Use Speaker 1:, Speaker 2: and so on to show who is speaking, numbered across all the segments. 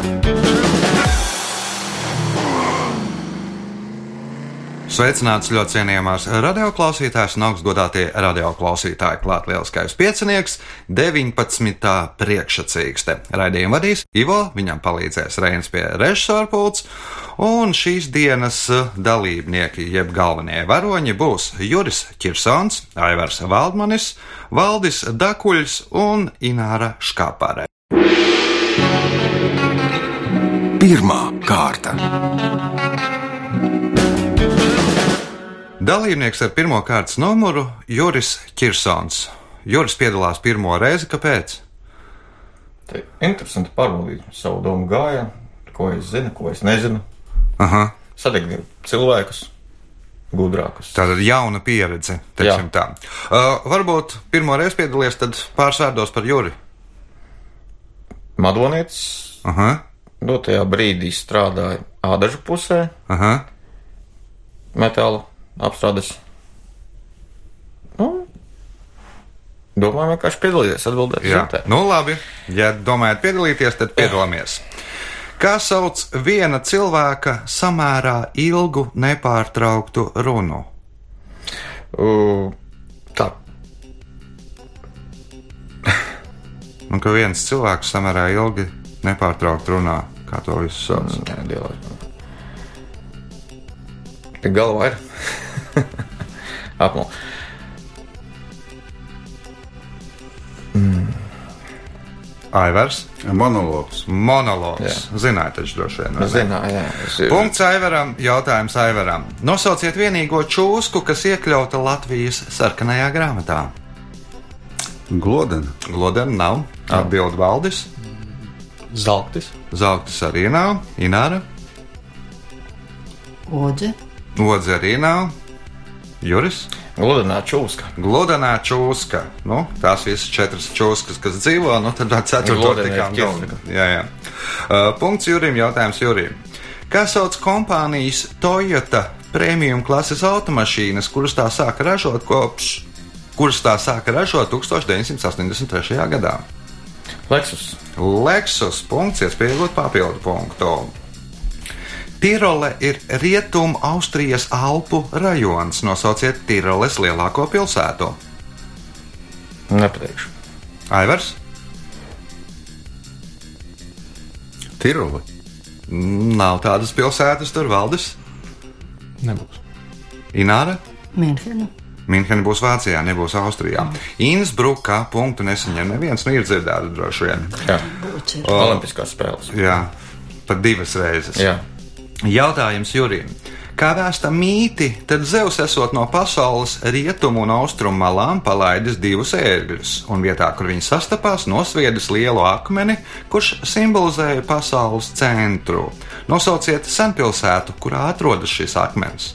Speaker 1: Sveicināts ļoti cienījamās radioklausītājas un augstgadātie radioklausītāji. Klāt lieliskais piecinieks, 19. priekšsacīkste. Raidījumu vadīs Ivo, viņam palīdzēs Reins pie režisora pults, un šīs dienas dalībnieki, jeb galvenie varoņi, būs Juris Kirsons, Aivars Valdmanis, Valdis Dakuļs un Ināra Škapare.
Speaker 2: Pirmā kārta.
Speaker 1: Dalībnieks ar pirmā kārtas numuru Juris Kirsons. Juris piedalās pirmo reizi, kāpēc?
Speaker 3: Tā ir interesanti pārbaudīt savu domu gājienu, ko es zinu, ko es nezinu.
Speaker 1: Aha.
Speaker 3: Satikt cilvēkus, gudrākus.
Speaker 1: Tātad jauna pieredze, teiksim
Speaker 3: Jā.
Speaker 1: tā. Uh, varbūt pirmo reizi piedalījies, tad pārsvērdos par Juri.
Speaker 3: Madonietis
Speaker 1: Aha,
Speaker 3: dotajā brīdī strādāja ādažu pusē,
Speaker 1: aha.
Speaker 3: metāla apstrādes. Nu, domāju, vienkārši piedalīties, atbildēt.
Speaker 1: Jā,
Speaker 3: zinu te.
Speaker 1: nu labi. Ja domājat piedalīties, tad piedalāmies. Kā sauc viena cilvēka samērā ilgu nepārtrauktu runu?
Speaker 3: Uh, tā,
Speaker 1: Un ka viens cilvēks samērā ilgi nepārtraukti runā, kā to visu sauc.
Speaker 3: nē, dievā. Tik galvā ir. Apmū.
Speaker 1: Aivars,
Speaker 4: Monologs.
Speaker 1: monologs.
Speaker 3: Jā.
Speaker 1: Zināt, taču droši vien. vai ne?
Speaker 3: Zināju, Nu, jā. es ir-
Speaker 1: Punkts Aivaram, jautājums Aivaram. Nosauciet vienīgo čūsku, kas iekļauta Latvijas sarkanajā grāmatā.
Speaker 4: Glodena.
Speaker 1: Glodena nav, atbild Valdis,
Speaker 3: Zeltis.
Speaker 1: Zaugtis arī nav, Ināra,
Speaker 5: Odze,
Speaker 1: Odze arī nav, Juris.
Speaker 3: Gludinā čūska.
Speaker 1: Glodenā čūska. Nu, tās visas četras čūskas, kas dzīvo, nu tad ar ceturto
Speaker 3: Glodenā
Speaker 1: tikām
Speaker 3: ir
Speaker 1: galā.
Speaker 3: ķirka.
Speaker 1: Jā, jā. Uh, punkts Jurim, jautājums Jurim. Kā sauc kompānijas Toyota prēmijum klases automašīnas, kuras tā sāka ražot kopš, kuras tā sāka ražot 1983. gadā?
Speaker 3: Leksus.
Speaker 1: Leksus punkts, iespējot papildu punktu. Tirole ir rietumu Austrijas Alpu rajons. Nosauciet Tiroles lielāko pilsētu.
Speaker 3: Nepateikšu.
Speaker 1: Aivars?
Speaker 4: Tiroli.
Speaker 1: Nav tādas pilsētas, tur valdes. Nebūs. Ināra?
Speaker 5: Münchena,
Speaker 1: Minhenē būs Vācijā, nebūs Austrijā. Innsbruckā punktu nesaņem neviens, nu ir dzirdēts droši vien.
Speaker 3: Jā.
Speaker 5: Bucer,
Speaker 3: Olimpiskās spēles.
Speaker 1: Jā, pat divas reizes.
Speaker 3: Jā.
Speaker 1: Jautājums Jurim. Kā vēsta mīti, tad Zeus esot no pasaules rietumu un austrumu malām palaidis divus ērgļus, un vietā, kur viņi sastapās, nosviedis lielu akmeni, kurš simbolizēja pasaules centru. Nosauciet senpilsētu, kurā atrodas šis akmens.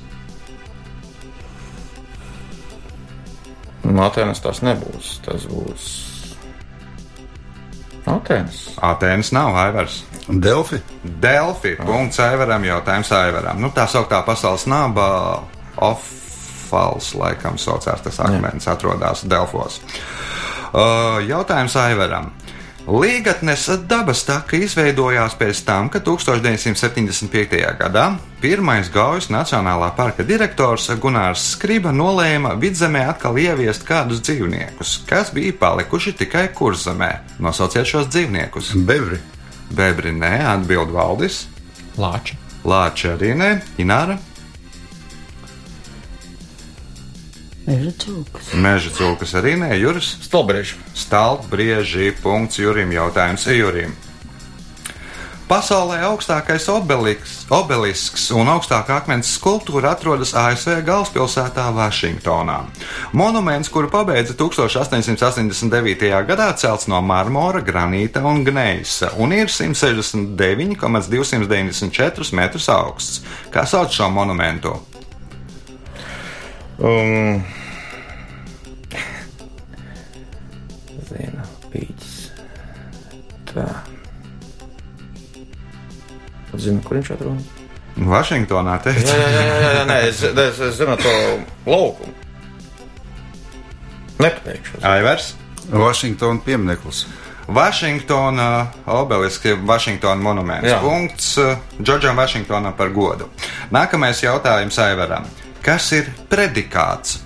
Speaker 3: No Atenas tas nebūs. Tas būs. Atenas.
Speaker 1: Atēnas nav Aivars.
Speaker 4: Delfi.
Speaker 1: Delfi, punkts Aivaram, jautājums Aivaram. Nu, tā sauktā pasaules naba Ofals, laikam saucās tas akmens, atrodas Delfos. Uh, jautājums Aivaram. Līgatnes dabas taka izveidojās pēc tam, kad 1975. gadā pirmais gaujas Nacionālā parka direktors Gunārs Skriba nolēma vidzemē atkal ieviest kādus dzīvniekus, kas bija palikuši tikai kurzemē. Nosauciet šos dzīvniekus!
Speaker 4: Bevri.
Speaker 1: Bebri nē, atbild Valdis.
Speaker 6: Lāči.
Speaker 1: Lāča arī nē, Ināra.
Speaker 5: Meža cūkas,
Speaker 1: Meža cūkas arī nē, Juris.
Speaker 3: Stolbrieži.
Speaker 1: Stalbrieži, punkts Jurim, jautājums Jurim. Pasaulē augstākais obeliks, obelisks un augstākā akmens skulptūra atrodas ASV galvaspilsētā Vašingtonā. Monuments, kuru pabeidza 1889. gadā, celts no marmora, granīta un gneisa un ir 169,294 metrus augsts. Kā sauc šo monumentu?
Speaker 3: Um. Zinu, pīķis. Tā. Pat Zinu, kur viņš atrodas.
Speaker 1: Vašingtonā
Speaker 3: Jā,
Speaker 1: teica.
Speaker 3: jā, jā, jā, jā, nē, es, es, es zinu to laukumu. Nepateikšu.
Speaker 1: Aivars.
Speaker 4: Vašingtona piemineklis.
Speaker 1: Vašingtona obeliski, Vašingtona monuments.
Speaker 3: Jā.
Speaker 1: Punkts uh, Džordžam Vašingtonam par godu. Nākamais jautājums Aivaram. Kas ir predikāts?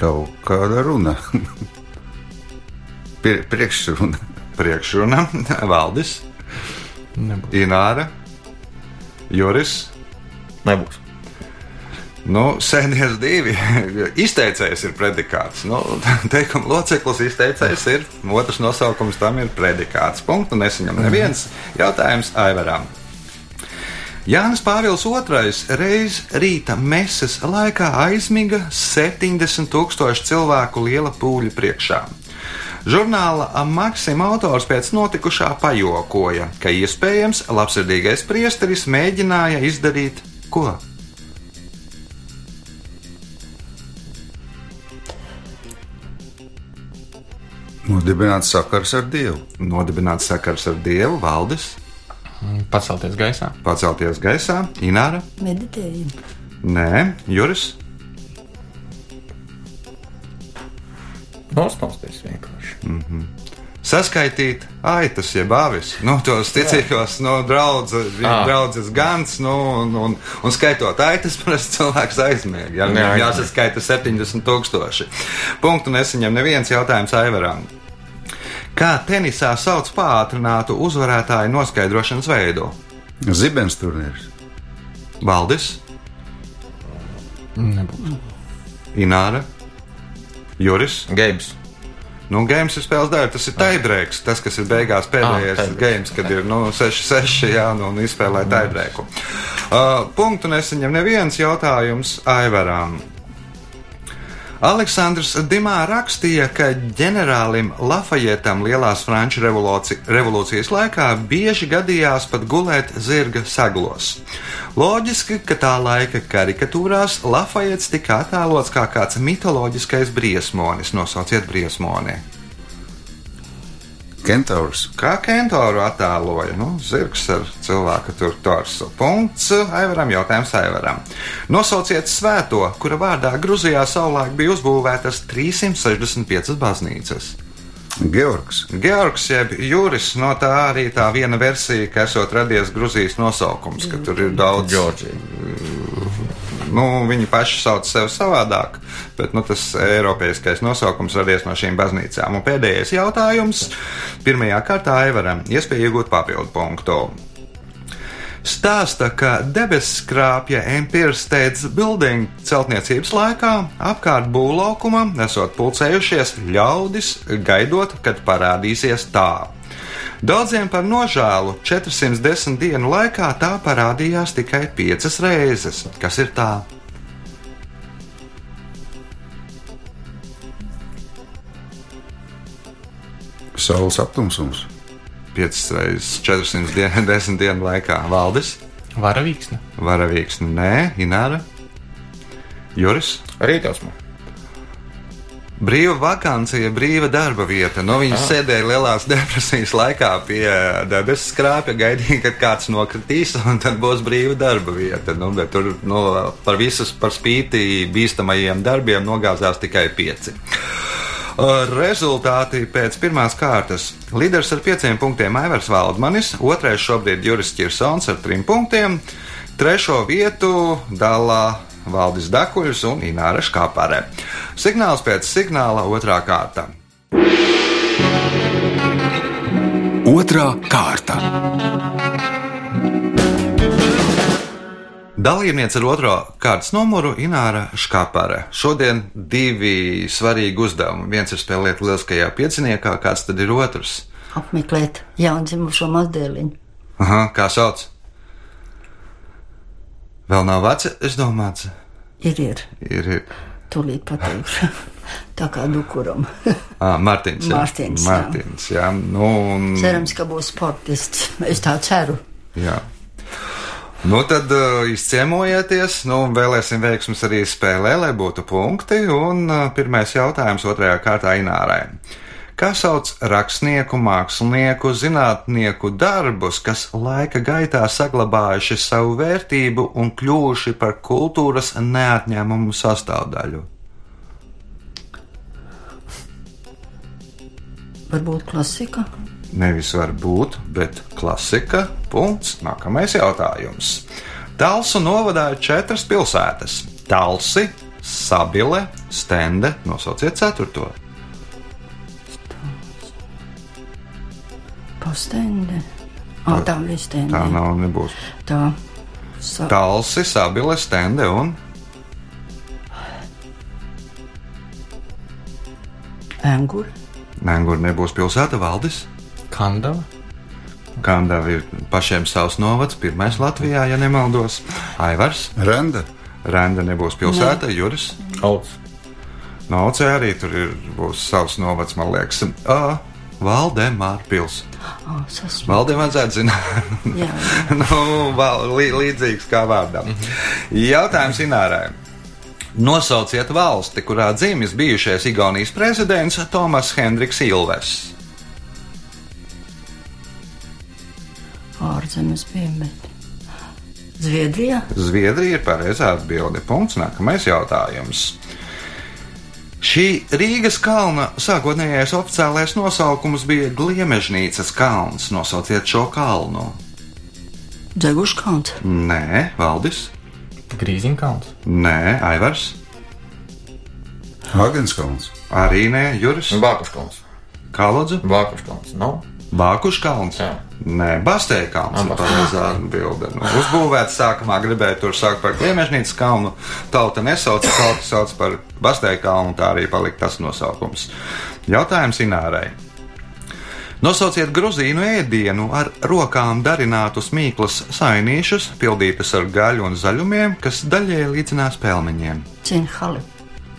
Speaker 4: Kaut kāda runa. Pie, priekšruna.
Speaker 1: Priekšruna Valdis,
Speaker 3: Nebūs.
Speaker 1: Ināra, Juris.
Speaker 3: Nebūs.
Speaker 1: Nu, sēdies divi. Izteicējs ir predikāts. Nu, teikuma loceklis izteicējs ir. Otrs nosaukums tam ir predikāts. Punkts. Nesaņem neviens jautājums Aivaram. Jānis Pāvils II reiz rīta meses laikā aizmiga 70 tūkstošu cilvēku liela pūļa priekšā. Žurnāla Maksima autors pēc notikušā pajokoja, ka iespējams labsirdīgais priesteris mēģināja izdarīt ko?
Speaker 4: Nodibināts sakars ar Dievu.
Speaker 1: Nodibināt sakars ar Dievu, valdes,
Speaker 3: Pacelties gaisā.
Speaker 1: pacelties gaisā, Ināra,
Speaker 5: Meditējam.
Speaker 1: Nē, Juris,
Speaker 3: Nostāsties vienkārši.
Speaker 1: saskaitīt aitas, jeb avis, nu, tos ticīgos, no draudzes,
Speaker 3: Ā.
Speaker 1: draudzes gans, nu, un, un, un skaitot aitas, parasti cilvēks aizmieg. Jā,
Speaker 3: Jā,
Speaker 1: viņam
Speaker 3: jā.
Speaker 1: jāsaskaita 70 tūkstoši. Punktu nesaņem neviens jautājums Aivaram. Kā tenisā sauc pātrinātu uzvarētāju noskaidrošanas veidu?
Speaker 4: Zibens turnīrs.
Speaker 1: Valdis,
Speaker 3: Nebūs.
Speaker 1: Ināra, Juris.
Speaker 3: Games.
Speaker 1: Nu, games ir spēles daļa. Tas ir taibrēks, tas, kas ir beigās pēdējais
Speaker 3: Ah, tie
Speaker 1: ah,
Speaker 3: breaks.
Speaker 1: games, kad ir nu, 6-6 jā, nu, un izspēlē taibrēku. Uh, punktu nesaņem neviens jautājums Aivaram. Aleksandrs Dimā rakstīja, ka ģenerālim Lafajetam Lielās Franču revolūci- revolūcijas laikā bieži gadījās pat gulēt zirga saglos. Loģiski, ka tā laika karikatūrās Lafajets tika attēlots kā kāds mitoloģiskais briesmonis. Nosauciet briesmoni!
Speaker 4: Kentaurs.
Speaker 1: Kā kentauru attēloja, nu, zirgs ar cilvēku tur torsu. Punkts Aivaram, jautājums Aivaram. Nosauciet svēto, kura vārdā Gruzijā savulaik bija uzbūvētas 365 baznīcas.
Speaker 4: Georgs.
Speaker 1: Georgs jeb Juris no tā arī tā viena versija, ka esot radies Gruzijas nosaukums, ka tur ir daudz.
Speaker 3: Džordžija.
Speaker 1: Nu, viņi paši sauc sevi savādāk, bet nu, tas eiropeiskais nosaukums radies no šīm baznīcām. Un pēdējais jautājums pirmajā kārtā Aivaram - iespēja iegūt papildu punktu. Stāsta, ka debesskrāpja Empire State Building celtniecības laikā apkārt būvlaukumam esot pulcējušies ļaudis, gaidot, kad parādīsies tā. Daudziem par nožēlu 410 dienu laikā tā parādījās tikai 5 reizes. Kas ir tā?
Speaker 4: Saules aptumsums.
Speaker 1: 5 reizes 410 dienu laikā valdes,
Speaker 3: Varavīksne.
Speaker 1: varavīgs, nē, Ināra, Juris.
Speaker 3: Rītos man.
Speaker 1: Brīva vakancija, brīva darba vieta. Nu, viņa sēdēja lielās depresijas laikā pie debesu skrāpja, gaidīja, kad kāds nokritīs, un tad būs brīva darba vieta. Nu, bet tur nu, par visus, par spīti bīstamajiem darbiem, nogāzās tikai pieci. Rezultāti pēc pirmās kārtas. Līderis ar pieciem punktiem Aivars Valdmanis, otrais šobrīd Juris Kirsons ar trim punktiem, trešo vietu dalā Valdis Dakuļs un Ināra Škāpare. Signāls pēc signāla otrā kārta.
Speaker 2: Otrā kārta.
Speaker 1: Dalībniece ar otro kārtas numuru Ināra Škāpare. Šodien divi svarīgi uzdevumi. Viens ir spēlēt lieliskajā pieciniekā, kāds tad ir otrs?
Speaker 5: Apmeklēt jaundzimušo mazdēliņu.
Speaker 1: Aha, kā sauc? Vēl nav vecs, es domāju,
Speaker 5: Ir, ir.
Speaker 1: ir, ir.
Speaker 5: Tūlīt pateikšu. Tā kā dukuram.
Speaker 1: Ah, Mārtiņš. jā.
Speaker 5: Mārtiņš, jā.
Speaker 1: Mārtiņš, jā. Nu, un,
Speaker 5: Cerams, ka būs sportists. Es tā ceru.
Speaker 1: jā. Nu, tad uh, izciemojieties, nu, un vēlēsim veiksmus arī spēlē, lai būtu punkti. Un uh, pirmais jautājums otrajā kārtā Inārai. kā sauc rakstnieku, mākslinieku, zinātnieku darbus, kas laika gaitā saglabājuši savu vērtību un kļuvuši par kultūras neatņēmumu sastāvdaļu.
Speaker 5: Varbūt klasika.
Speaker 1: Nevis var būt, bet klasika. Punkts. Nākamais jautājums. Talsu novadā ir četras pilsētas - Talsi, Sabile, Stende. Nosauciet ceturto.
Speaker 5: Postende. Ah, tā bija stende.
Speaker 1: Tā nav nebūs.
Speaker 5: Tā. Sa... tā.
Speaker 1: Talsi, Sabile, Stende un
Speaker 5: Engur.
Speaker 1: Nengur nebūs pilsēta valdis.
Speaker 3: Kandava.
Speaker 1: Kandava ir pašiem savs novads, pirmais Latvijā, ja nemaldos. Aivars,
Speaker 4: Renda.
Speaker 1: Renda nebūs pilsēta, ne. Juris.
Speaker 3: Alts.
Speaker 1: Naucē arī tur ir, būs savs novads, man liekas. Uh, Valdemāra pils.
Speaker 5: Oh, sasmu.
Speaker 1: Valdemāra vajadzētu zināt,
Speaker 5: Jā.
Speaker 1: nu, val, lī, līdzīgs kā vārdam. Jautājums Inārai. Nosauciet valsti, kurā dzimis bijušais Igaunijas prezidents Tomas Hendriks Ilves.
Speaker 5: Ārzemes bija, bet Zviedrijā.
Speaker 1: Zviedrija ir pareizā atbilde. Punkts. Nākamais jautājums. Šī Rīgas kalna sākotnējais oficiālais nosaukums bija Gliemežnīcas kalns. Nosauciet šo kalnu.
Speaker 5: Dzeguškants.
Speaker 1: Nē, Valdis,
Speaker 3: Grīziņkalns.
Speaker 1: Nē, Aivars,
Speaker 4: Agenskalns.
Speaker 1: arī Nē, Juris,
Speaker 3: Vākuškalns.
Speaker 1: Kalodze,
Speaker 3: Vākuškalns. Nu? Nav.
Speaker 1: Bākušs kalns.
Speaker 3: Jā.
Speaker 1: Nē, Bastēja kalns ir
Speaker 3: Abas.
Speaker 1: pareizā atbilde. Nu, uzbūvēts sākumā gribēja tur sākt par Gliemežnīcas kalnu. Tauta nesauca, tauta sauc par Bastēja kalnu, tā arī palika tas nosaukums. Jautājums Inārai. Nosauciet grozīnu ēdienu ar rokām darinātus mīklas sainīšus, pildītas ar gaļu un zaļumiem, kas daļēji līdzinās pelmeņiem.
Speaker 5: Cinhali.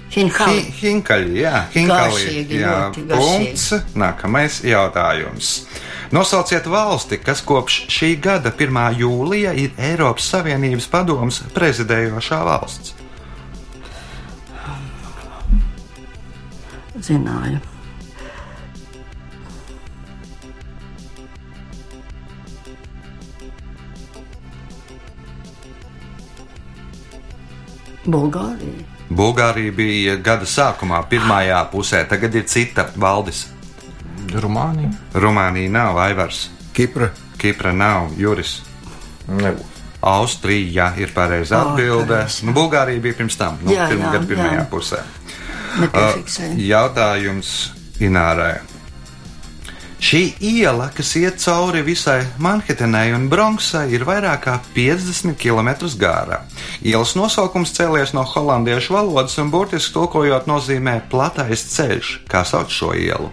Speaker 5: Cinhali.
Speaker 1: Hi- Hinkaļi, jā, hinkaļi.
Speaker 5: Garšīgi,
Speaker 1: Jā,
Speaker 5: ļoti
Speaker 1: punkts.
Speaker 5: garšīgi.
Speaker 1: Nākamais jautājums. Nosauciet valsti, kas kopš šī gada 1. jūlija ir Eiropas Savienības padomas prezidējošā valsts.
Speaker 5: Zināju. Bulgārija.
Speaker 1: Bulgārija bija gada sākumā, pirmajā pusē, tagad ir cita valdis.
Speaker 3: Rumānija.
Speaker 1: Rumānija nav Aivars,
Speaker 4: Kipra.
Speaker 1: Kipra nav Juris.
Speaker 3: Nebūs.
Speaker 1: Austrija ir pareizā
Speaker 5: Ā,
Speaker 1: atbilde.
Speaker 5: pareizi.
Speaker 1: Nu, Bulgārija bija pirms tam, nu,
Speaker 5: Jā,
Speaker 1: pirmā
Speaker 5: jā,
Speaker 1: gada pirmajā
Speaker 5: jā.
Speaker 1: pusē.
Speaker 5: Nepiefiksēju.
Speaker 1: Jautājums Inārai. Šī iela, kas iet cauri visai Manhetenai un Bronksai, ir vairāk kā 50 km gara. Ielas nosaukums cēlies no holandiešu valodas un burtiski tulkojot nozīmē platais ceļš, kā sauc šo ielu.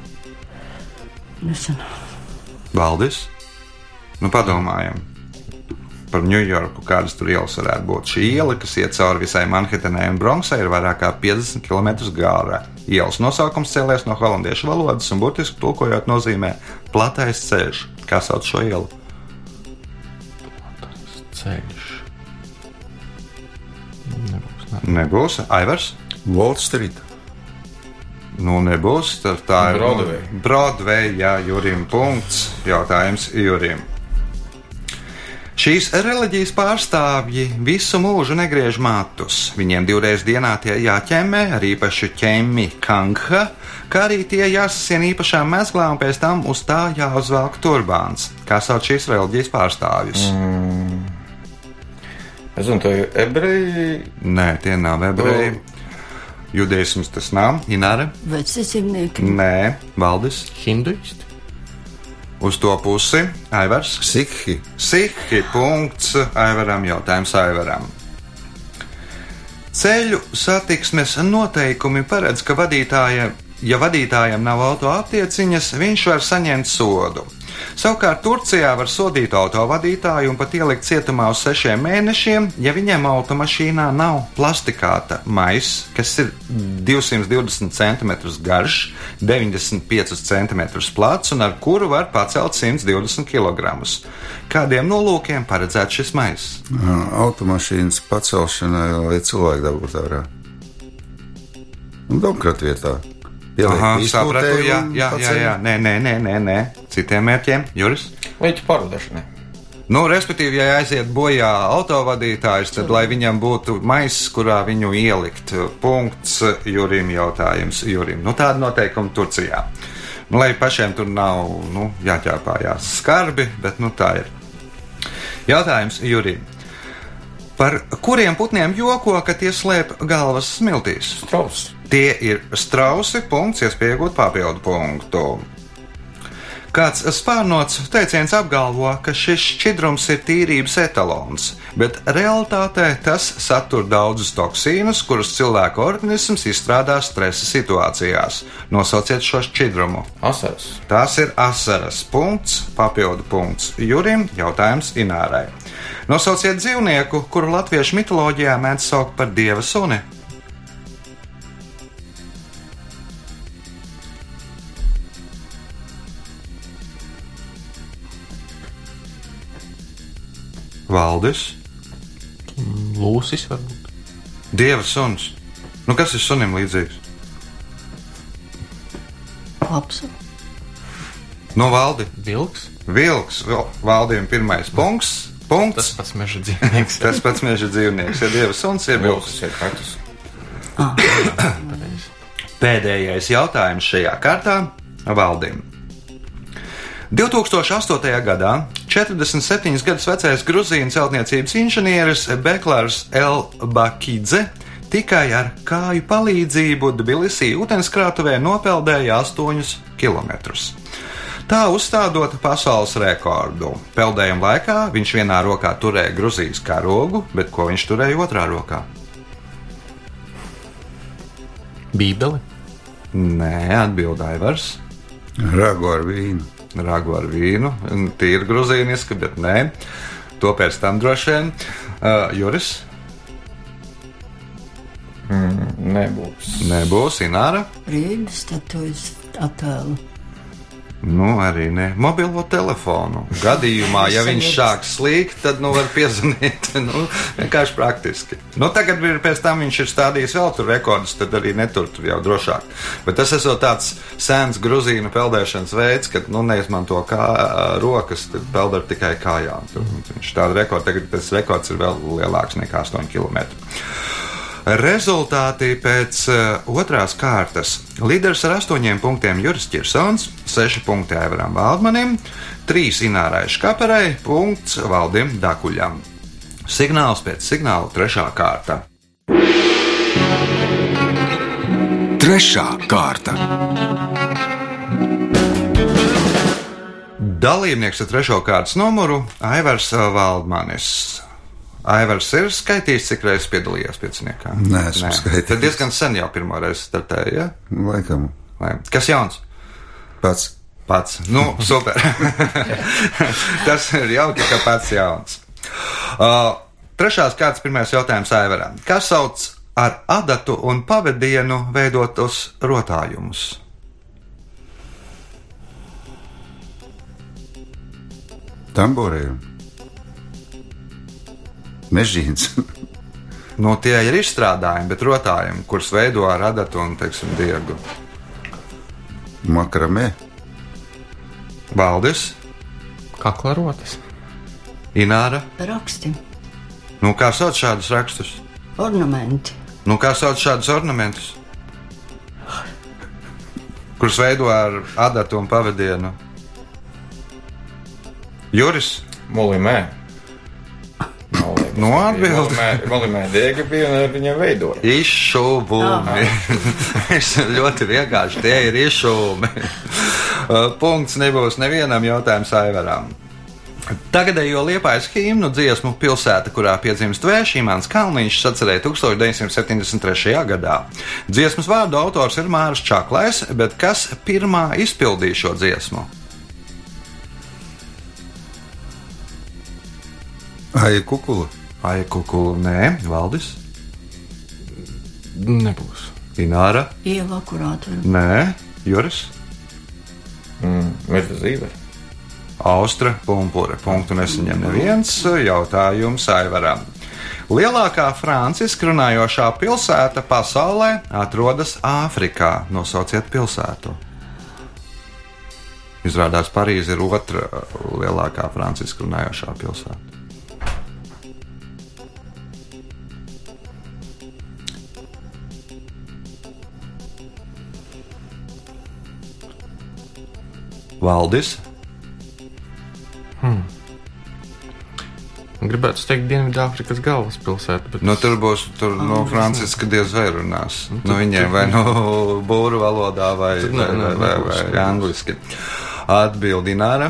Speaker 5: Nezinu.
Speaker 1: Valdis, nu padomājam par Ņujorku, kādas tur ielas varētu būt. Šī iela, kas iet cauri visai Manhetenai un Bronksai, ir vairāk kā 50 km gara. Ielas nosaukums cēlies no holandiešu valodas un burtiski tulkojot nozīmē platais ceļš. Kā sauc šo ielu?
Speaker 3: Ceļš. Nu, Nebūs. Ne.
Speaker 1: Nebūs Aivars.
Speaker 4: Wall Street.
Speaker 1: Nu, nebūs. Tad tā ir
Speaker 3: Broadway.
Speaker 1: Broadway, jā, Jurim. Punkts. Jautājums Jurim. Šīs reliģijas pārstāvji visu mūžu negriež matus. Viņiem divreiz dienā tie jāķemmē ar īpašu ķemmi, kangha, kā arī tie jāsasien īpašā mezglā un pēc tam uz tā jāuzvelk turbāns. Kā sauc šīs reliģijas pārstāvjus? Mm.
Speaker 3: Es zinu, tā ir ebreji.
Speaker 1: Nē, tie nav ebreji. Judaisms tas nav. Ināra?
Speaker 5: Vecicimnieki.
Speaker 1: Nē, Valdis.
Speaker 3: Hinduisti.
Speaker 1: Uz to pusi Aivars.
Speaker 4: Sikhi.
Speaker 1: Sihi punkts Aivaram jautājums Aivaram. Ceļu satiksmes noteikumi paredz, ka vadītāja, ja vadītājam nav auto attieciņas, viņš var saņemt sodu. Savukārt Turcijā var sodīt auto vadītāju un pat ielikt cietumā uz sešiem mēnešiem, ja viņam automašīnā nav plastikāta maisa, kas ir 220 cm garš, 95 cm plats un ar kuru var pacelt 120 kg. Kādiem nolūkiem paredzēts šis maisa?
Speaker 4: Ā, Automašīnas pacelšanai, lai cilvēki dabūtu ārā. Un domkrāt vietā.
Speaker 1: Aha,
Speaker 4: Pieliek
Speaker 1: sapratu,
Speaker 4: izpūtēju
Speaker 1: jā,
Speaker 4: un
Speaker 1: jā, jā,
Speaker 4: paceļ.
Speaker 1: jā, nē, nē, nē, nē, nē. citiem mērķiem, Juris.
Speaker 3: Līķi parodēšanai.
Speaker 1: Nu, respektīvi, ja aiziet bojā autovadītājs, tad lai viņam būtu maisis, kurā viņu ielikt. Punkts Jurim jautājums Jurim. Nu, tāda noteikuma Turcijā. Nu, lai pašiem tur nav nu, jāķēpājās skarbi, bet nu, tā ir. Jautājums Jurim. Par kuriem putniem joko, ka tie slēp galvas smiltīs?
Speaker 3: Strauss.
Speaker 1: Tie ir strausi, punkts, iespējot papildu punktu. Kāds spārnots teiciens apgalvo, ka šis šķidrums ir tīrības etalons, bet realtātē tas satur daudzus toksīnus, kurus cilvēka organisms izstrādā stresa situācijās. Nosauciet šo šķidrumu.
Speaker 3: Asars.
Speaker 1: Tās ir asaras punkts, papildu punkts Jurim, jautājums Inārai. Nosauciet dzīvnieku, kuru latviešu mitoloģijā mēdz saukt par dieva suni. Valdis,
Speaker 6: Lūsis varbūt.
Speaker 1: dieva suns. Nu, kas ir sunim līdzīgs?
Speaker 5: Kops.
Speaker 1: No valdi,
Speaker 6: Vilks.
Speaker 1: vilks, vil- valdiem pirmais punkts. punkts.
Speaker 6: Tas pats meža dzīvnieks.
Speaker 1: Tas pats meža dzīvnieks, ja dieva suns ir vilks.
Speaker 3: Vilks ir kaķis.
Speaker 1: Pēdējais jautājums šajā kārtā valdim. 2008. gadā 47 gadus vecais grūzīnu celtniecības inženieris Beklārs L. Bakidze tikai ar kāju palīdzību Tbilisī ūdenskrātuvē nopeldēja 8 kilometrus. Tā uzstādot pasaules rekordu. Peldējuma laikā viņš vienā rokā turēja grūzijas karogu, bet ko viņš turēja otrā rokā?
Speaker 6: Bībeli.
Speaker 1: Nē, atbildēja Vars.
Speaker 4: Ragu ar vīnu.
Speaker 1: ragu ar vīnu. Tīri grūzīniska, bet nē, to pēc tam droši vien. Uh, Juris
Speaker 3: Nebūs.
Speaker 1: nebūs, Ināra.
Speaker 5: Rīgas statujas attēlu.
Speaker 1: Nu, arī ne mobilo telefonu. Gadījumā, ja viņš sāk slīgt, tad nu var piezvanīt. Nu, vienkārši praktiski. Nu, tagad ir pēc tam viņš ir stādījis vēl tur rekordus, tad arī netur tur jau drošāk. Bet tas esot tāds sens grūzīnu peldēšanas veids, kad nu, neizmanto kā, rokas, tad peld ar tikai kājām. Tur, viņš tādu rekordu, tagad tas rekords ir vēl lielāks nekā 8 km. Rezultāti pēc uh, otrās kārtas. Līderis ar astoņiem punktiem Juris Kirsons, seši punkti Aivaram Valdmanim, trīs Inārai Škaperai, punkts Valdim Dakuļam. Signāls pēc signāla trešā kārta.
Speaker 2: Trešā kārta.
Speaker 1: Dalībnieks ar trešo kārtas numuru Aivars uh, Valdmanis. Aivars ir skaitījis, cik reizes piedalījās pieciniekā.
Speaker 4: Nē, esmu skaitījis.
Speaker 1: Tad diezgan sen jau pirmo reizi startēja. Ja?
Speaker 4: Laikam
Speaker 1: Vai- Kas jauns?
Speaker 4: pats.
Speaker 1: Pats. Nu, super. Tas ir jauki, ka pats jauns. Uh, trešās kārtas pirmais jautājums Aivaram. Kas sauc ar adatu un pavadienu veidotos rotājumus?
Speaker 4: Tamborēju. Mežģīns.
Speaker 1: Nu, tie ir izstrādājumi, bet rotājumi, kurus veido ar adatu un, teiksim, diegu.
Speaker 4: Makramē.
Speaker 1: Valdis,
Speaker 6: Kaklarotis.
Speaker 1: Ināra,
Speaker 5: Raksti.
Speaker 1: nu kā sauc šādus rakstus?
Speaker 5: Ornamenti.
Speaker 1: Nu, kā sauc šādus ornamentus? Kurus veido ar adatu un pavadienu? Juris,
Speaker 3: Molimē.
Speaker 1: Nu, atbildi.
Speaker 3: Molimē dēga bija un ar viņu veidoja.
Speaker 1: Iššūmi. Es ļoti vienkārši tie ir iššūmi. Punkts nebūs nevienam jautājumam, Aivaram. Tagadējo liepais himnu dziesmu pilsēta, kurā piedzimst Vēšīmāns Kalniņš, sacerēja 1973. gadā. Dziesmas vārdu autors ir Mārs Čaklais, bet kas pirmā izpildīja šo dziesmu?
Speaker 4: Aija kukula.
Speaker 1: Aikukulu, nē, Valdis,
Speaker 6: Nebūs.
Speaker 1: Ināra,
Speaker 5: Iela, kurā tur
Speaker 1: nē, Juris.
Speaker 3: Mirza zīve.
Speaker 1: Austra pumpura. Punktu nesaņem neviens jautājums Aivaram. Lielākā franciska runājošā pilsēta pasaulē atrodas Āfrikā. Nosauciet pilsētu. Izrādās, Parīze ir otrā lielākā franciska runājošā pilsēta. Valdis,
Speaker 6: Gribētu teikt, Dienvidāfrikas galvaspilsēta, bet
Speaker 1: Nu, tur būs tur, no Franciska diez vai runās. Nu, viņiem vai no būru valodā, vai,
Speaker 6: Tad
Speaker 1: vai,
Speaker 6: nē, nē,
Speaker 1: vai, vai,
Speaker 6: nebūs,
Speaker 1: vai
Speaker 6: nebūs.
Speaker 1: angliski. Atbildi Nāra,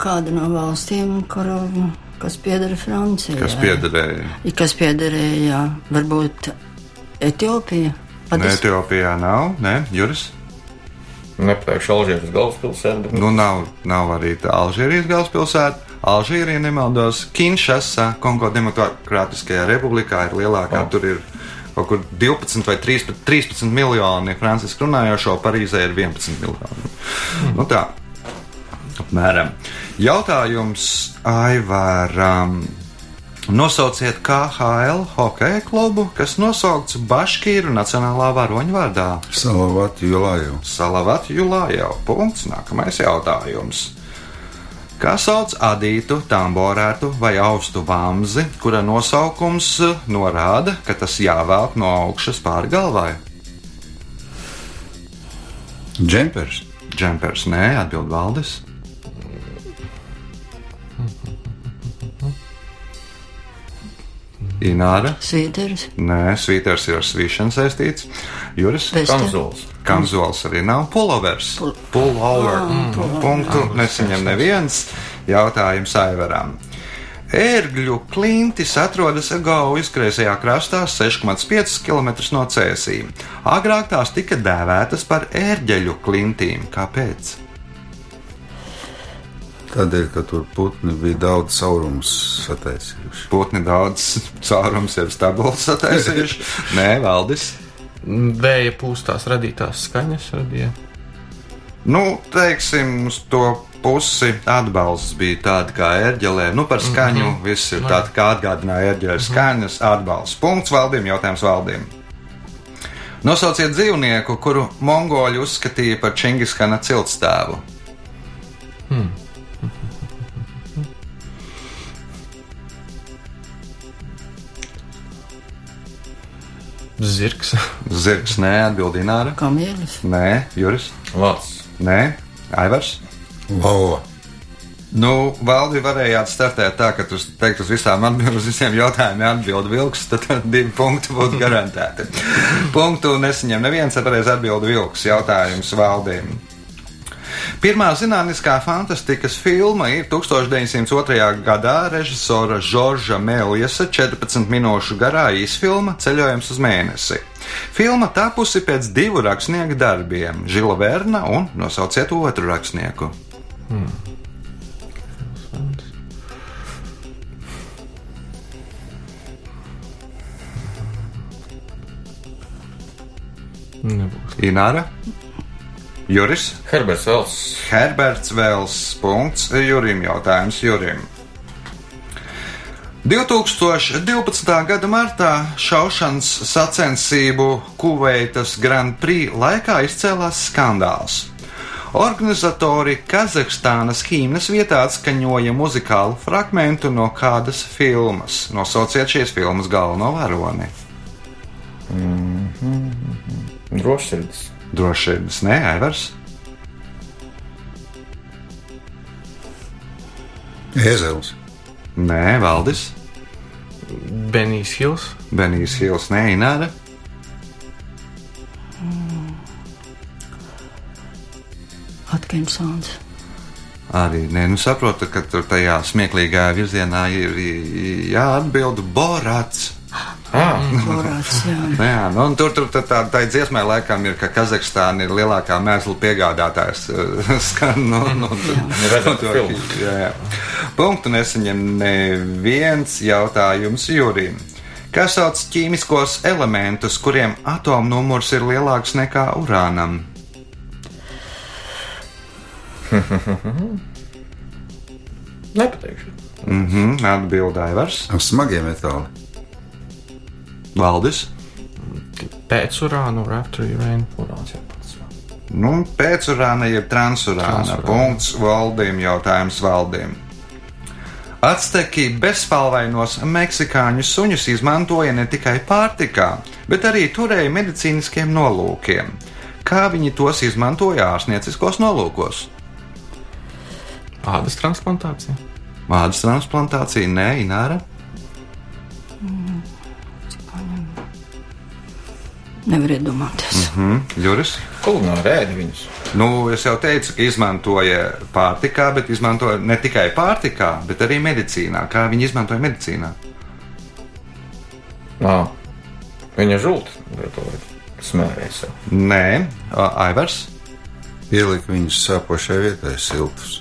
Speaker 5: Kāda no valstīm, kur, kas piedara Francijai?
Speaker 1: kas piederēja
Speaker 5: I, Kas piederēja, jā. varbūt Etiopija. Pat
Speaker 1: ne,
Speaker 5: es-
Speaker 1: Etiopijā, nav, ne, Juris.
Speaker 3: Nepateikšu Alžēras galvaspilsētu, bet nu,
Speaker 1: Nu, nav, nav arī tā Alžīrijas galvaspilsēta. Alžīrija nemaldos, Kinšasa, Kongo Demokrātiskajā republikā ir lielākā. Oh. Tur ir kaut kur 12 vai 13, 13 miljoni franciski runājošo, Parīzē ir 11 miljoni. Mm. Nu tā, apmēram. Jautājums Aivaram. Nosauciet KHL hokeja klubu, kas nosaukts Baškīru Nacionālā varoņu vārdā.
Speaker 4: Salavāt Julāju.
Speaker 1: Salavat Julā jau punkts. Nākamais jautājums. Kā sauc adītu, tamborētu vai austu vamzi, kura nosaukums eh, norāda, ka tas jāvelk no augšas pāri galvai?
Speaker 4: Džempers.
Speaker 1: Džempers, nē, atbild valdes. Ināra,
Speaker 5: Svīteris,
Speaker 1: nē, svīters ir ar svīšanu saistīts. Juris,
Speaker 5: Bez-
Speaker 3: Kamzols.
Speaker 1: Kamzols arī nav pulovers. Pulover. Mm. Punktu nesaņem neviens. Jautājums Aivaram. Ērgļu klintis atrodas Gaujas kreisajā krastā 6,5 km no cēsīm. Agrāk tās tika dēvētas par ērģeļu klintīm. Kāpēc?
Speaker 4: Tādēļ, ka tur putni bija daudz saurumus sataisījuši.
Speaker 1: Putni daudz caurums ir stabils sataisījuši. Nē, Valdis.
Speaker 6: vēja pūstās radītās skaņas radīja.
Speaker 1: Nu, teiksim, uz to pusi atbalsts bija tāds kā ērģelē. Nu, par skaņu mm -hmm. viss ir tāds, kā atgādināja ērģelē skaņas. Atbalsts. Punkts valdīm, jautājums valdīm. Nosauciet dzīvnieku, kuru mongoļi uzskatīja par Čingiskana ciltstāvu.
Speaker 6: Zirgs.
Speaker 1: Zirgs, nē, atbildīja Nāra.
Speaker 5: kamielis,
Speaker 1: Nē, Juris,
Speaker 3: Lats.
Speaker 1: nē, Aivars.
Speaker 4: Lava.
Speaker 1: Nu, valdi varējāt startēt tā, ka jūs teikt uz visām atbildēm, uz visiem jautājumiem atbild vilks, tad divi punkti būtu garantēti. Punktu nesaņem neviens, tāpēc atbild vilks jautājums valdīm. Pirmā zinātniskā fantastikas filma ir 1902. gadā režisora Žorža Mēliesa 14 minūšu garā īsfilma Ceļojums uz mēnesi. Filma tapusi pēc divu rakstnieku darbiem - Žila Verna un nosauciet otru rakstnieku.
Speaker 6: Nebūs.
Speaker 1: Ināra, Juris,
Speaker 3: Herberts Vels.
Speaker 1: Herberts Vēls, punkts Jurim jautājums Jurim. 2012. gada martā šaušanas sacensību Kuveitas Grand Prix laikā izcēlās skandāls. Organizatori Kazahstānas hīmnes vietā skaņoja muzikālu fragment no kādas filmas. Nosauciet šīs filmas galveno varoni.
Speaker 3: Drošsirdis.
Speaker 1: Drošības nē, Aivars.
Speaker 4: Ezels.
Speaker 1: Nē, Valdis.
Speaker 6: Benijs Hils.
Speaker 1: Benijs Hils, nē, Ināra.
Speaker 5: Atkinsons.
Speaker 1: Arī nē, nu saprotu, ka tur tajā smieklīgā virzienā ir i- jāatbild Borats.
Speaker 3: Ah,
Speaker 5: Borāts, jā.
Speaker 1: Nu Jā, nu, un tur tur tā, tā, tā dziesmai laikam ir, ka Kazahstāna ir lielākā mēslu piegādātājs. eh, Skan, nu, nu,
Speaker 3: redzam
Speaker 1: to-
Speaker 3: filmu.
Speaker 1: jā, jā. Punktu nesaņem neviens jautājums Jurim. Kas sauc ķīmiskos elementus, kuriem atomnumurs ir lielāks nekā urānam?
Speaker 3: nepateikšu.
Speaker 1: Mhm, Atbildēja vairs.
Speaker 4: Smagie metāli.
Speaker 1: Valdis.
Speaker 6: Pēc urāna, or after urāna.
Speaker 3: Urāns jau pats.
Speaker 1: Nu, pēcurāna jeb transurāna.
Speaker 6: Transurāna.
Speaker 1: Punkts valdījuma jautājums valdījumam. Atsteki bezspalvainos meksikāņu suņus izmantoja ne tikai pārtikā, bet arī turēja medicīniskiem nolūkiem. Kā viņi tos izmantoja ārstnieciskos nolūkos?
Speaker 6: Ādas transplantācija.
Speaker 1: Mādas transplantācija, nē, Ināra.
Speaker 5: Nevar iedomāties. Mm
Speaker 1: Mm, Juris.
Speaker 3: Kulināri ēdi viņus.
Speaker 1: Nu, es jau teicu, ka izmantoja pārtikā, bet izmantoja ne tikai pārtikā, bet arī medicīnā. Kā viņi izmantoja medicīnā?
Speaker 3: Nā. Viņa žulti, gatavot smērēju sev.
Speaker 1: Nē, A- Aivars.
Speaker 4: Ielika viņus sāpošai vietai siltus.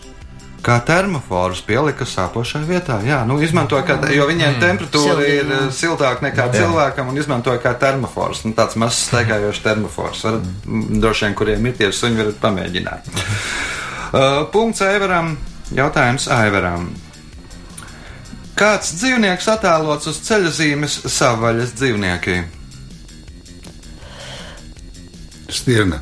Speaker 1: Kā termoforus pielika sāpošai vietā. Jā, nu, izmantoja, kā, jo viņiem mm. temperatūra
Speaker 5: Silti,
Speaker 1: ir
Speaker 5: jā.
Speaker 1: eh, siltāka nekā jā. cilvēkam, un izmantoja kā termoforus. Nu, tāds mazs steigājošs termofors. Varat, mm. Droši vien, kuriem ir tie suņi, varat pamēģināt. Uh, punkts Aivaram. Jautājums Aivaram. Kāds dzīvnieks attēlots uz ceļojumus savvaļas dzīvniekiem?
Speaker 4: Stirna.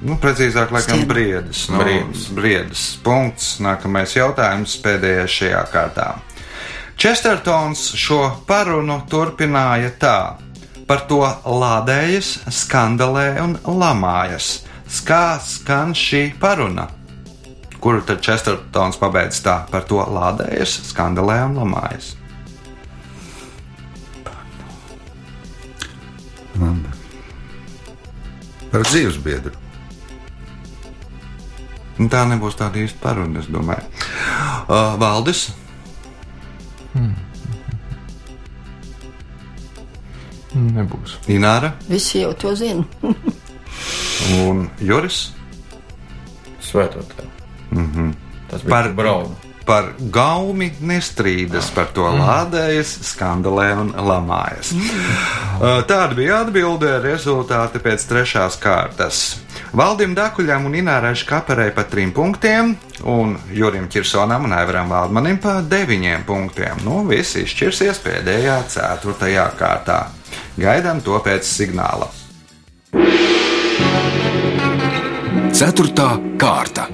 Speaker 1: Nu, precīzāk, laikam,
Speaker 5: Stirna.
Speaker 1: briedis. Nu, briedis.
Speaker 3: Briedis.
Speaker 1: briedis. Punkts. Nākamais jautājums pēdējā šajā kārtā. Čestertons šo parunu turpināja tā: par to lādējas, skandalē un lamājas. Kā skan šī paruna? Kuru tad Čestertons pabeidz tā, par to lādējas, skandalē un lamājas?
Speaker 4: Par dzīves biedru.
Speaker 1: Nu, tā nebūs tāda īsta paruna, es domāju. Uh, Valdis,
Speaker 6: Nebūs.
Speaker 1: Ināra
Speaker 5: Visi jau to zina.
Speaker 1: un Juris.
Speaker 3: Svētotē. Mhm. Tas bija
Speaker 1: Par-
Speaker 3: par braunu.
Speaker 1: Par gaumi nestrīdas, par to lādējas, skandalē un lamājas. Uh, Tāda bija atbilde, rezultāti pēc trešās kārtas. Valdim Dakuļam un Inārai Škaperei pa trim punktiem, un Jurim Kirsonam un Aivaram Valdmanim pa deviņiem punktiem. Nu, visi izšķirsies pēdējā ceturtajā kārtā. Gaidām to pēc signāla.
Speaker 2: Ceturtā kārta.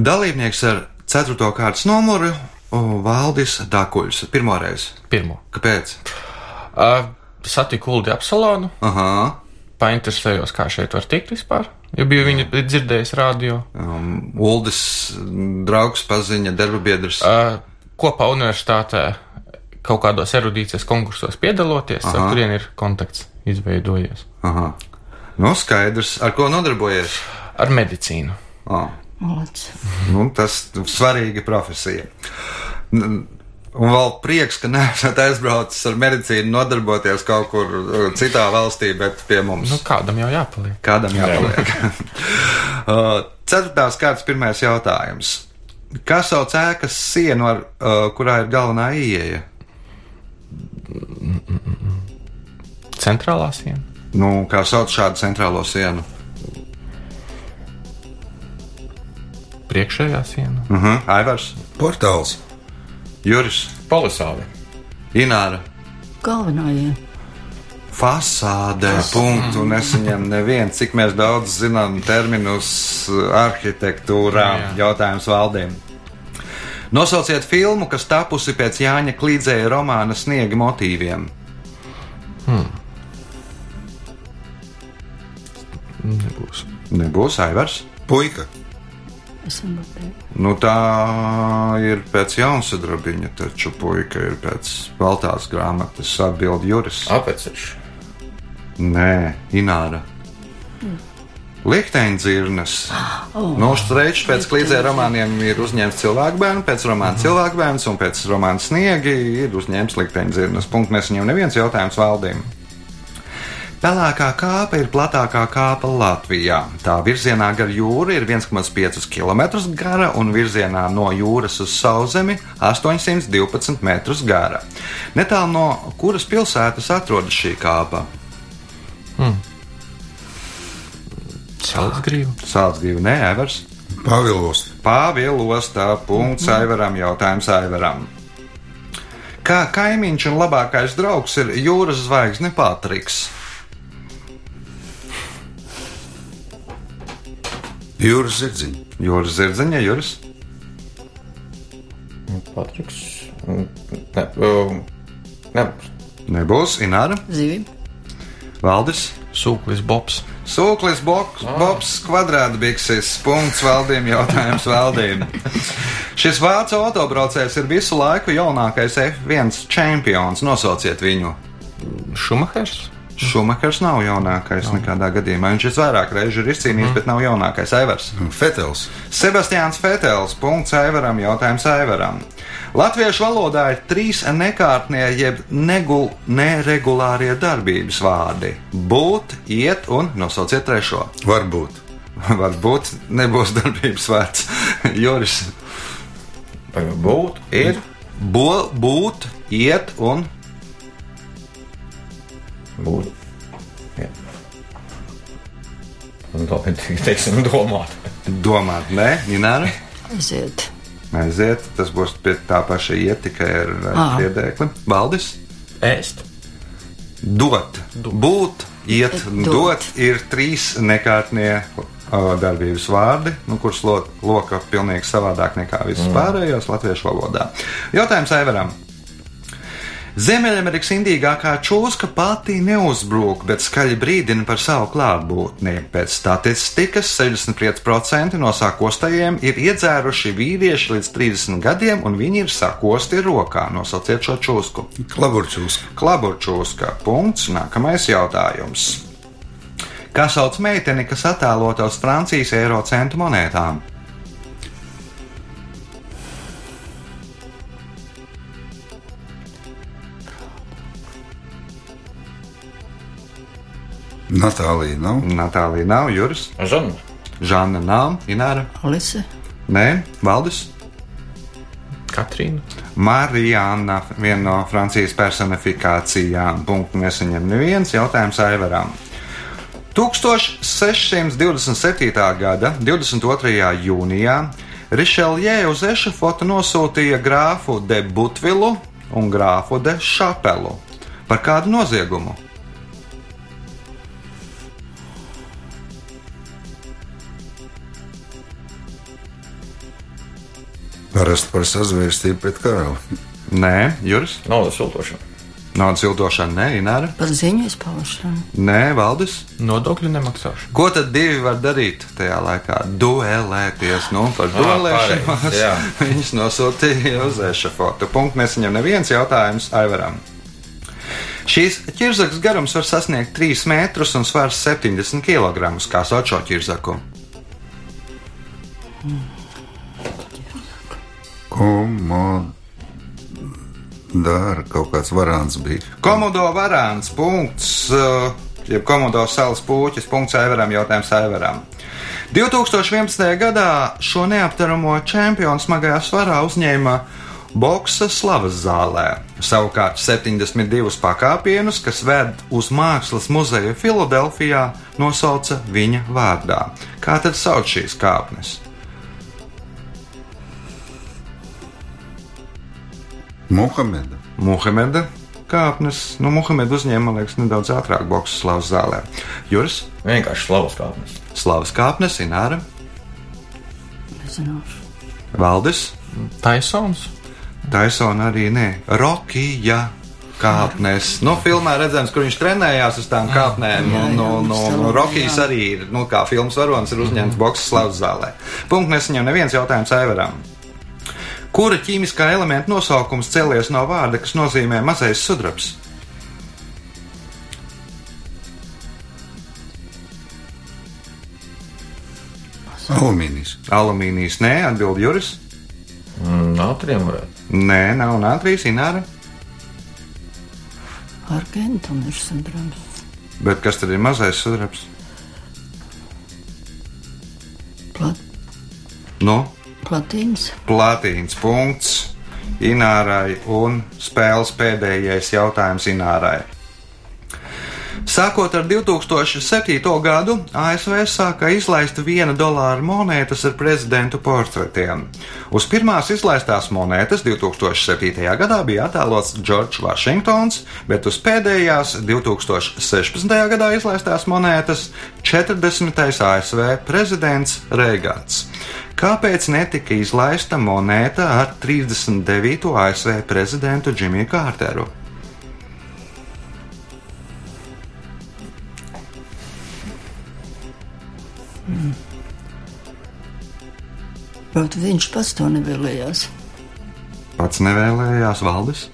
Speaker 1: Dalībnieks ar ceturto kārtas numuru uh, Valdis Dakuļs. Pirmoreiz.
Speaker 6: Pirmo.
Speaker 1: Kāpēc?
Speaker 6: Uh, satiku Uldi Apsalonu,
Speaker 1: Aha.
Speaker 6: painteresējos, kā šeit var tikt vispār. Jo biju viņu dzirdējis radio.
Speaker 1: Um, Uldis, mm, draugs, paziņa, darba biedrs.
Speaker 6: Uh, kopā universitātē kaut kādos erudīcijas konkursos piedaloties, Aha. ar kuriem ir kontakts izveidojies.
Speaker 1: Aha. Nu, skaidrs, ar ko nodarbojies.
Speaker 6: Ar medicīnu.
Speaker 1: Oh.
Speaker 5: Malac.
Speaker 1: Nu, tas ir svarīga profesija. N- Un vēl prieks, ka neesat aizbraucis ar medicīnu, nodarboties kaut kur uh, citā valstī, bet pie mums.
Speaker 6: Nu, kādam jau jāpaliek?
Speaker 1: Kādam jāpaliek? Uh, Ceturtās kārtas pirmais jautājums. Kā sauc ēkas sienu, ar, uh, kurā ir galvenā ieeja?
Speaker 6: Centrālā siena.
Speaker 1: Nu, kā sauc šādu centrālo sienu?
Speaker 6: Priekšējā siena.
Speaker 3: Mhm.
Speaker 1: Uh -huh. Aivars,
Speaker 4: Portāls.
Speaker 1: Juris,
Speaker 3: Polisāvi.
Speaker 1: Ināra.
Speaker 5: Galvenā ir.
Speaker 1: Fasādē, punktu nesaņem neviens, cik mēs daudz zinām terminus uh, arhitektūrā. Jā.
Speaker 6: Jā.
Speaker 1: Jautājums valdiem. Nosauciet filmu, kas tapusi pēc Jāņa Klīdzēja romāna sniega motīviem.
Speaker 6: Nebūs.
Speaker 1: Nebūs Aivars.
Speaker 4: Puika.
Speaker 5: Es varu pateikt.
Speaker 1: Nu, tā ir pēc jaunsudrabiņa, taču puika ir pēc baltās grāmatas atbild Juris.
Speaker 3: Apeceļš.
Speaker 1: Nē, Ināra. Likteņdzirnes. Oh, no Strēča pēc klīdzē romāniem ir uzņemts cilvēku bērns, pēc romāna cilvēku bērns un pēc romāna sniegi ir uzņemts likteņdzirnes. Punkts nesaņem neviens jautājums valdīm. Pelēkā kāpa ir platākā kāpa Latvijā. Tā virzienā gar jūru ir 1,5 km gara un virzienā no jūras uz sauszemi 812 m gara. Netālu no kuras pilsētas atrodas šī kāpa?
Speaker 6: Cēlus grīva.
Speaker 1: Sāls gribi nē, Evers.
Speaker 4: Pavilos.
Speaker 1: Pāvils tā punkts Aivaram jautājums Aivaram. kā kaimiņš un labākais draugs ir jūras zvaigzne Pātriks.
Speaker 4: Jūras zirdziņa.
Speaker 1: Jūras zirdziņa, jūras.
Speaker 3: Patriks. mm, Ne, um, nebūs.
Speaker 1: Nebūs Ināra,
Speaker 5: Zivīm.
Speaker 1: Valdis.
Speaker 6: Sūklis Bobs.
Speaker 1: Sūklis, boks, bobs, kvadrātbikses, punkts valdījuma jautājums valdījuma. Šis vācu autobraucējs ir visu laiku jaunākais F1 čempions. Nosauciet viņu.
Speaker 6: Šumahers.
Speaker 1: Šumakers nav jaunākais nekādā gadījumā. Viņš ir vairāk reižu ir izcīnījis, bet nav jaunākais Aivars.
Speaker 4: Fetels.
Speaker 1: Sebastians Fetels, punkts Aivaram, jautājums Aivaram. Latviešu valodā ir trīs nekārtnie, jeb negul, neregulārie darbības vārdi - būt, iet un nosauciet trešo.
Speaker 4: Varbūt.
Speaker 1: Varbūt nebūs darbības vērts. Joris,
Speaker 3: Vai būtu?
Speaker 1: ir bo, būt, iet un
Speaker 3: Būtu. Jā. Un to ir tikai teiksim domāt.
Speaker 1: domāt, nē, Nināra.
Speaker 5: Aiziet.
Speaker 1: Aiziet, tas būs pie tā paša iet, tikai ar
Speaker 5: Ā.
Speaker 1: piedēkli. Valdis,
Speaker 6: Ēst.
Speaker 1: dot, būt, iet,
Speaker 5: Dot.
Speaker 1: dot ir trīs nekārtnie ā, darbības vārdi, nu, kurus lo, loka pilnīgi savādāk nekā visas mm. pārējās latviešu valodā. Jautājums Aivaram. Ziemeļamerikas indīgākā čūska pati neuzbrūk, bet skaļi brīdina par savu klātbūtni. Pēc statistikas 65% no sākostajiem ir iedzēruši vīrieši līdz 30 gadiem, un viņi ir sakosti rokā. Nosauciet šo čūsku.
Speaker 4: Klaburčūs.
Speaker 1: Klaburčūska. Punkts. Nākamais jautājums. Kā sauc meiteni, kas attēlotos Francijas eiro centu monētām?
Speaker 4: Natālija nav.
Speaker 1: Natālija nav, Juris,
Speaker 3: Žanu.
Speaker 1: Žana nav, Ināra,
Speaker 5: Alise.
Speaker 1: Nē, Valdis.
Speaker 6: Katrīna.
Speaker 1: Marijāna, viena no Francijas personifikācijām, punktu neseņem neviens jautājums Aivaram. 1627. gada 22. jūnijā Rišeljē uz ešafota nosūtīja grāfu de Butvilu un grāfu de Šapelu. Par kādu noziegumu?
Speaker 4: Parasti par sazvērstību pret karali.
Speaker 1: Nē, Juris,
Speaker 3: Naudas siltošana.
Speaker 1: naudas ildošana, nē, Ināra,
Speaker 5: Par ziņu izpaušanu.
Speaker 1: nē, Valdis.
Speaker 6: Nodokļu nemaksāšana.
Speaker 1: Ko tad divi var darīt tajā laikā? Duelēties, nu, par duelēšanos.
Speaker 3: pareizi, jā.
Speaker 1: Viņš nosūtīja uz ešafotu. Punkts nesaņem neviens jautājums Aivaram. Šīs ķirzakas garums var sasniegt 3 metrus un svars 70 kg. Kā sauc šo ķirzaku?
Speaker 4: Komodāra kaut kāds varants bija.
Speaker 1: Komodo varāns, punkts, uh, jeb komodo salas pūķis, punkts Aivaram, jautājums Aivaram. 2011. gadā šo neaptaramo čempionu smagajā svarā uzņēma Boksa slavas zālē. Savukārt 72 pakāpienus, kas ved uz Mākslas muzeju Filadelfijā, nosauca viņa vārdā. Kā tad sauc šīs kāpnes?
Speaker 4: Muhameda.
Speaker 1: Muhameda kāpnes, nu, Muhameda uzņēma, man liekas, nedaudz ātrāk Boksa slavas zālē. Juris,
Speaker 3: Vienkārši slavas kāpnes.
Speaker 1: slavas kāpnes, Ināra.
Speaker 5: Nezināšu.
Speaker 1: Valdis,
Speaker 6: Taisons.
Speaker 1: Taisona arī nē, Rokija. Kāpnes. Nu, filmā redzams, kur viņš trenējās uz tām kāpnēm.
Speaker 5: Ah, Jā, jā,
Speaker 1: Nu, nu, nu,
Speaker 5: absolūti,
Speaker 1: Rokijas
Speaker 5: jā. Mhm.
Speaker 1: arī ir, nu, kā filmas varonis, ir uzņemts boxes slavas zālē. Punkts nesaņem neviens jautājums Aivaram. Kura ķīmiskā elementa nosaukums cēlies no vārda, kas nozīmē mazais sudrabs?
Speaker 4: Alumīnijas.
Speaker 1: Alumīnijas nē, atbild Juris.
Speaker 3: Nātriem varētu.
Speaker 1: Nē, nav nātrīs, Ināra.
Speaker 5: Argentum ir sindroms.
Speaker 1: Bet kas tad ir mazais sudrabs?
Speaker 5: Plat,
Speaker 1: Nu,
Speaker 5: platīns.
Speaker 1: platīns punkts Inārai un spēles pēdējais jautājums Inārai. Sākot ar 2007. gadu, ASV sāka izlaist viena dolāra monētas ar prezidentu portretiem. Uz pirmās izlaistās monētas 2007. gadā bija attēlots Džordžs Vašingtons, bet uz pēdējās 2016. gadā izlaistās monētas 40. ASV prezidents Reigans. Kāpēc netika izlaista monēta ar 39. ASV prezidentu Džimiju Kārteru?
Speaker 5: Bet viņš pats to nevēlējās.
Speaker 1: Pats nevēlējās valdes.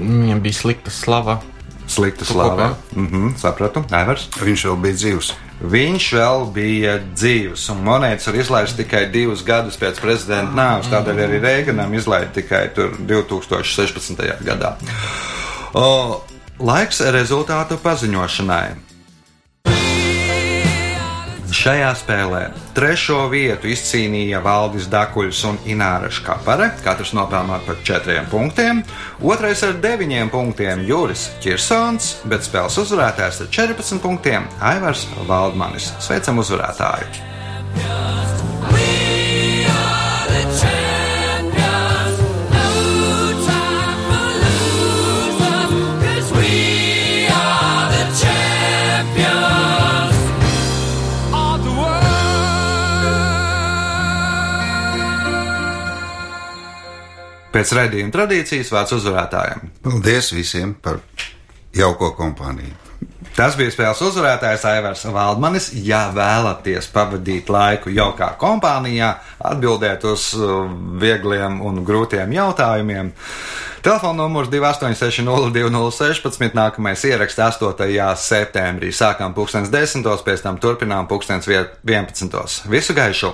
Speaker 6: Viņam bija slikta slava.
Speaker 1: Slikta
Speaker 6: Tu
Speaker 1: slava.
Speaker 6: kopā?
Speaker 1: Mhm, sapratu, Evers.
Speaker 4: Viņš vēl bija dzīvs.
Speaker 1: Viņš vēl bija dzīves, un monētas var izlaist tikai divus gadus pēc prezidenta nāves. Tādēļ arī Reiganam izlaiž tikai tur 2016. gadā. O, laiks rezultātu paziņošanai. Šajā spēlē trešo vietu izcīnīja Valdis Dakuļs un Ināra Škapare, katrs nopelnot par četriem punktiem, otrais ar deviņiem punktiem Juris Kirsons, bet spēles uzvarētājs ar 14 punktiem Aivars Valdmanis. Sveicam uzvarētāju! Pēc raidījuma tradīcijas vārds uzvarētājiem.
Speaker 4: Paldies visiem par jauko kompāniju.
Speaker 1: Tas bija spēles uzvarētājs Aivars Valdmanis. Ja vēlaties pavadīt laiku jaukā kompānijā, atbildēt uz uh, viegliem un grūtiem jautājumiem, telefona numurs 286-0216. Nākamais ieraksts 8. septembrī. Sākam 2010. pēc tam turpinām 2011. Visu gaišu!